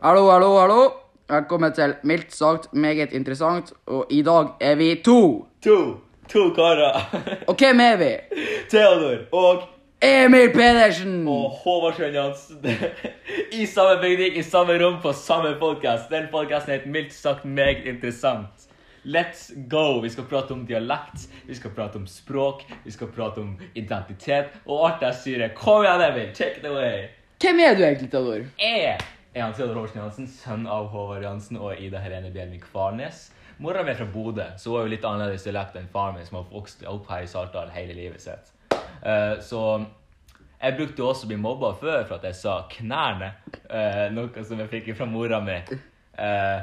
Hallo, hallo, hallo. Velkommen til mildt sagt meget interessant, og i dag er vi to. To. To karer. Og hvem er vi? Theodor og, Emil Pedersen! og Håvard Sjøen Jansen. I samme bygning, i samme rom, på samme podkast. Den podkasten het mildt sagt meget interessant. Let's go! Vi skal prate om dialekt, vi skal prate om språk, vi skal prate om identitet og alt det styret. Kom igjen, Emil! Take it away! Hvem er du egentlig, Theodor? Jeg er han Theodor Horsen Jansen, sønn av Håvard Jansen og Ida Helene Bjelvik Kvarnes. Mora mi er fra Bodø, så hun er jo litt annerledes dialekt enn faren min, som har vokst opp her i Saltdal hele livet sitt. Eh, så jeg brukte jo også å bli mobba før for at jeg sa 'knærne', eh, noe som jeg fikk fra mora mi. Eh,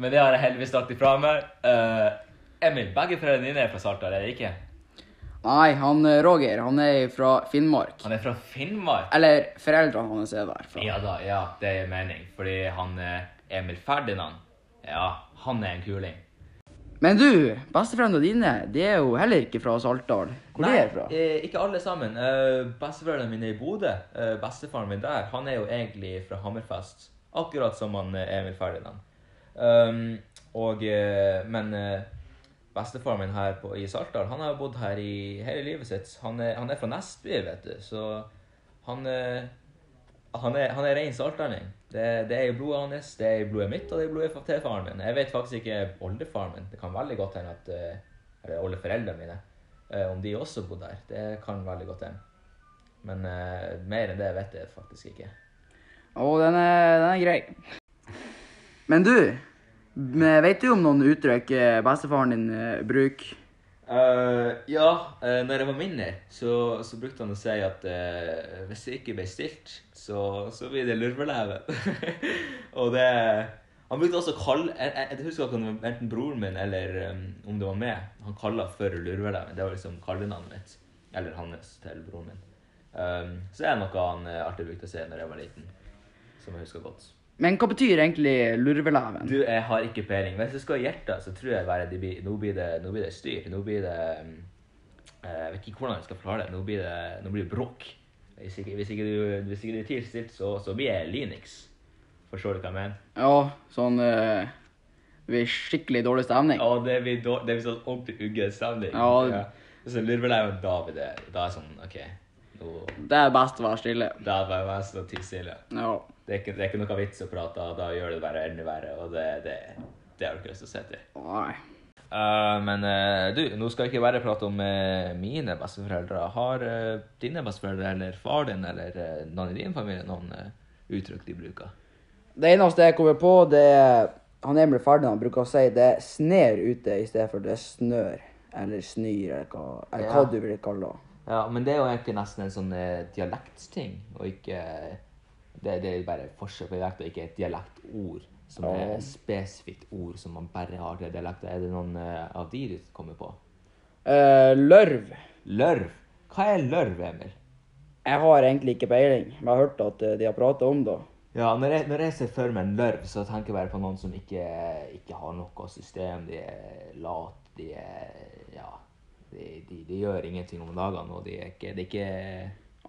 men det har jeg heldigvis lagt ifra meg. Eh, Emil, begge foreldrene dine er fra Saltdal, er det ikke? Nei, han eh, Roger, han er fra Finnmark. Han er fra Finnmark. Eller foreldrene hans er derfra. Ja da, ja, det gir mening. Fordi han eh, Emil Ferdinand, ja, han er en kuling. Men du, besteforeldrene dine, de er jo heller ikke fra Saltdal. Hvor de er fra? eh, ikke alle sammen. Uh, Besteforeldrene mine er i Bodø. Eh, bestefaren min der, han er jo egentlig fra Hammerfest. Akkurat som han eh, Emil Ferdinand. Um, og, eh, men eh, bestefaren min her på, i Saltdal, han har bodd her i hele livet sitt. Han er, han er fra Nestby, vet du, så han, eh, han er, han er rein saltdaling. Det, det er i blodet hans, det er i blodet mitt, og det er i blodet til faren min. Jeg vet faktisk ikke oldefaren min. Det kan veldig godt hende at eh, Eller oldeforeldrene mine. eh, Om de også bodde der. Det kan veldig godt hende. Men eh, mer enn det vet jeg faktisk ikke. Å, den er, den er grei. Men du, m- vet du om noen uttrykk eh, bestefaren din eh, bruker? Eh, ja, uh, når jeg var mindre, så, så brukte han å si at eh, hvis det ikke ble stilt, så, så blir det lurveleve. og det Han brukte også å kalle jeg, jeg, jeg husker ikke om det var enten broren min eller eh, om det var meg. Han kalla for lurveleven. Det var liksom kallenavnet mitt. Eller hans til broren min. Eh, så det er noe han eh, alltid brukte å si når jeg var liten, som jeg husker godt. Men hva betyr egentlig lurveleven? Du, jeg har ikke peiling. Hvis jeg skal gjette, så tror jeg bare det blir Nå blir det, nå blir det styr. Nå blir det mm, eh, Jeg vet ikke hvordan jeg skal forklare det. Nå blir det, nå blir det bråk. Hvis ikke, hvis ikke du hvis ikke du er tilstilt, så, så blir jeg Linux. Forstår du hva jeg mener? Ja, sånn eh, Det blir skikkelig dårlig stemning. Ja, det blir, dår- det blir sånn ordentlig uggen stemning. Ja. Så lurer jeg på David er Da er jeg sånn OK, nå Det er best å være stille. Da er jeg mest sånn tidsstille. Ja. Det, er ikke- det er ikke noe vits å prate, da gjør det bare enda verre, og det, det, det har du ikke lyst til å se til. Nei. Eh, men eh, du, nå skal jeg ikke bare prate om eh, mine besteforeldre. Har eh, dine besteforeldre eller far din eller eh, noen i din familie noen eh, uttrykk de bruker? Det eneste jeg kommer på, det er han Emil Ferdinand bruker å si det sner ute i stedet for det snør. Eller snir, eller hva, eller hva Ja. du vil kalle det. Ja, men det er jo egentlig nesten en sånn eh, dialektting, og ikke eh, det, det er bare forskjell på dialekt og ikke et dialektord, som er et spesifikt ord som man bare har til dialekter. Er det noen eh, av de du kommer på? Eh, lørv. Lørv. Hva er lørv, Emil? Jeg har egentlig ikke peiling, men jeg har hørt at eh, de har prata om det. Ja, når jeg, når jeg ser for meg en lørv, så tenker jeg bare på noen som ikke, ikke har noe system. De er late, de er Ja. De, de, de gjør ingenting om dagene, og de er ikke, de er ikke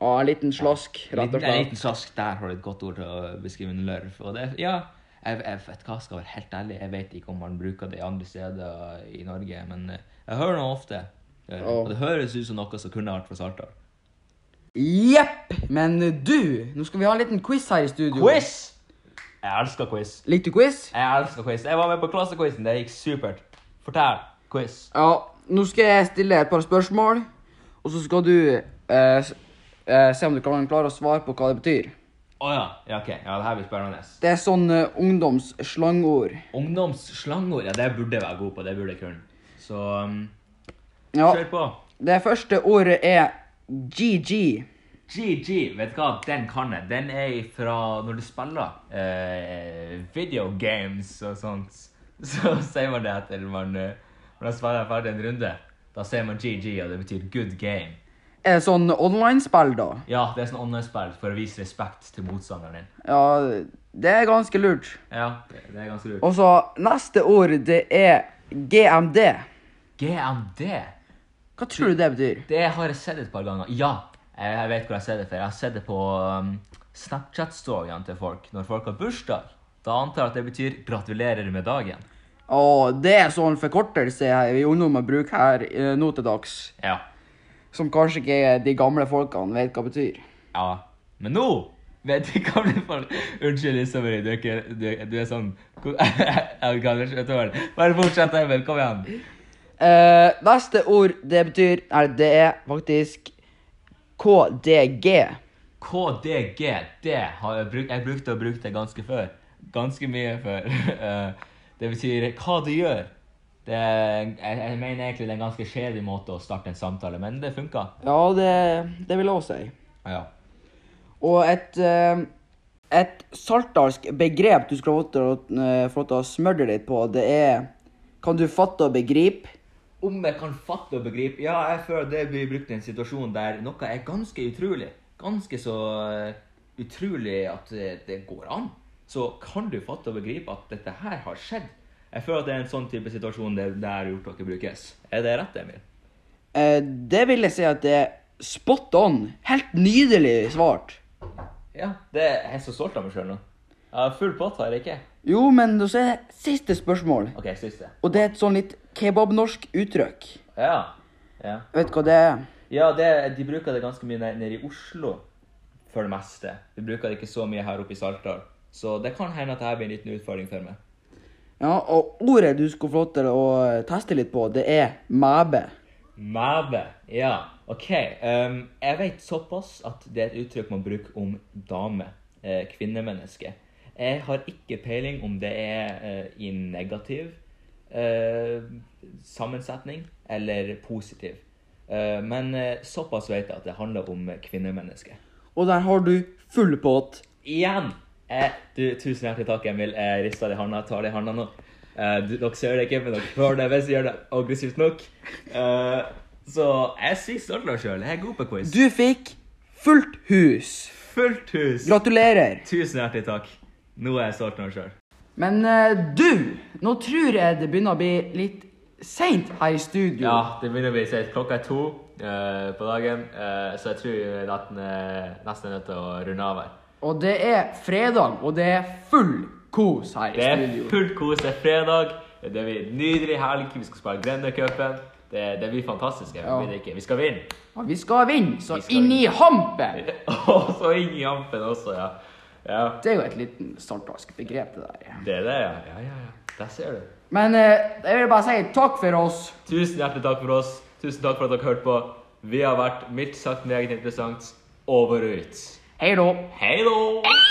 Ja, en liten slask, rett og En liten slett. slask der har du et godt ord til å beskrive en lørv. Og det, ja, jeg, jeg vet hva, jeg skal være helt ærlig, jeg vet ikke om man bruker det andre steder i Norge, men eh, jeg hører det ofte. Eh, Ja. Og det høres ut som noe som kunne vært fra Saltdal. Jepp. Men du, nå skal vi ha en liten quiz her i studio. Quiz! Jeg elsker quiz. Likte du quiz? Jeg elsker quiz. Jeg var med på klassequizen. Det gikk supert. Fortell. Quiz. Ja, nå skal jeg stille et par spørsmål, og så skal du eh, s- eh, se om du kan klare å svare på hva det betyr. Å ja. ja. OK. Ja, det her blir spennende. Det er sånn eh, ungdomsslangord. Ungdomsslangord. Ja, det burde jeg være god på. Det burde jeg kunne. Så um, Ja, kjør på. det første ordet er GG. GG. Vet du hva? Den kan jeg. Den er fra når du spiller eh, video games og sånt. Så sier man det etter man, eh, man har spilt ferdig en runde. Da sier man GG, og det betyr good game. Er det sånn online-spill, da? Ja, det er sånn online-spill for å vise respekt til motstanderen din. Ja, det er ganske lurt. Ja, det det er ganske lurt. Og så neste ord, det er GMD. GMD? Hva tror du det betyr? Det har jeg sett et par ganger. Ja, jeg jeg vet hvor jeg har sett det før. Jeg har sett det på um, Snapchat-storyene til folk når folk har bursdag. Da antar jeg at det betyr 'gratulerer med dagen'. Og det er sånn forkortelse her vi ungdommer bruker her eh, nå til dags, Ja. som kanskje ikke de gamle folkene vet hva betyr. ja. Men nå vet vi hva det for Unnskyld, Isabel. Du er ikke Du, er- du er sånn Jeg kan ikke vet du hva. Bare fortsett, Emil. Kom igjen. Eh, neste ord det betyr Nei, det er faktisk KDG. KDG, det har jeg brukt Jeg brukte å bruke det ganske før. Ganske mye før. Eh, Det betyr 'hva du gjør'. Det, jeg, jeg mener egentlig det er en ganske kjedelig måte å starte en samtale, men det funka. Ja, det, det vil jeg også si. Ja. Og et, eh, et saltdalsk begrep du skal få lov til å- eh, få lov til å smøre deg litt på, det er Kan du fatte og begripe? Om jeg kan fatte og begripe Ja, jeg føler det blir brukt i en situasjon der noe er ganske utrolig. Ganske så eh, utrolig at eh, det går an. Så kan du fatte og begripe at dette her har skjedd. Jeg føler at det er en sånn type situasjon der, der ordtaket brukes. Er det rett, Emil? Eh, det vil jeg si at det er spot on. Helt nydelig svart. Ja, det jeg er så stolt av meg sjøl nå. Jeg har full pott, har jeg ikke? Jo, men så er det siste spørsmål. OK, siste. Og det er et sånn litt kebabnorsk uttrykk. Ja. ja. Vet du hva det er? Ja, det, de bruker det ganske mye ned- nede i Oslo for det meste. De bruker det ikke så mye her oppe i Saltdal. Så det kan hende at dette blir en liten utfordring for meg. Ja, og ordet du skal få lov til å eh, teste litt på, det er mæbe. Mæve. Ja, OK. ehm, jeg vet såpass at det er et uttrykk man bruker om dame. eh, kvinnemenneske. Jeg har ikke peiling om det er eh, i negativ eh, sammensetning eller positiv. Eh, men eh, såpass vet jeg at det handler om kvinnemenneske. Og der har du full pott. Igjen! Eh, du, tusen hjertelig takk, Emil. Jeg rister deg i handa, tar deg i handa nå. Eh, du, dere ser det ikke, men dere hører det hvis jeg gjør det aggressivt nok. Eh, så jeg er sykt stolt av meg sjøl. Jeg er god på quiz. Du fikk fullt hus. Fullt hus! Gratulerer. Tusen hjertelig takk. Nå er jeg stolt av meg sjøl. Men eh, du, nå tror jeg det begynner å bli litt seint her i studio. Ja, det begynner å bli sent. Klokka er to eh, på dagen, eh, så jeg tror natten eh, nesten er nødt til å runde av her. Og det er fredag, og det er full kos her Det i er studio. fullt kos, det er fredag, det blir en nydelig helg, vi skal spille Grendercupen. Det, det blir fantastisk. Jeg Ja. blir det ikke. Vi skal vinne! Og vi skal vinne, så skal inn i hampen! Og så inn i jampen også, ja. ja. Det er jo et liten saltdalsk begrep, det der. Det er det, ja. Ja, ja, ja. Der ser du. Men eh, jeg vil bare si takk for oss. Tusen hjertelig takk for oss. Tusen takk for at dere hørte på. Vi har vært mildt sagt meget interessant. Over og ut. Hei da. Hei da!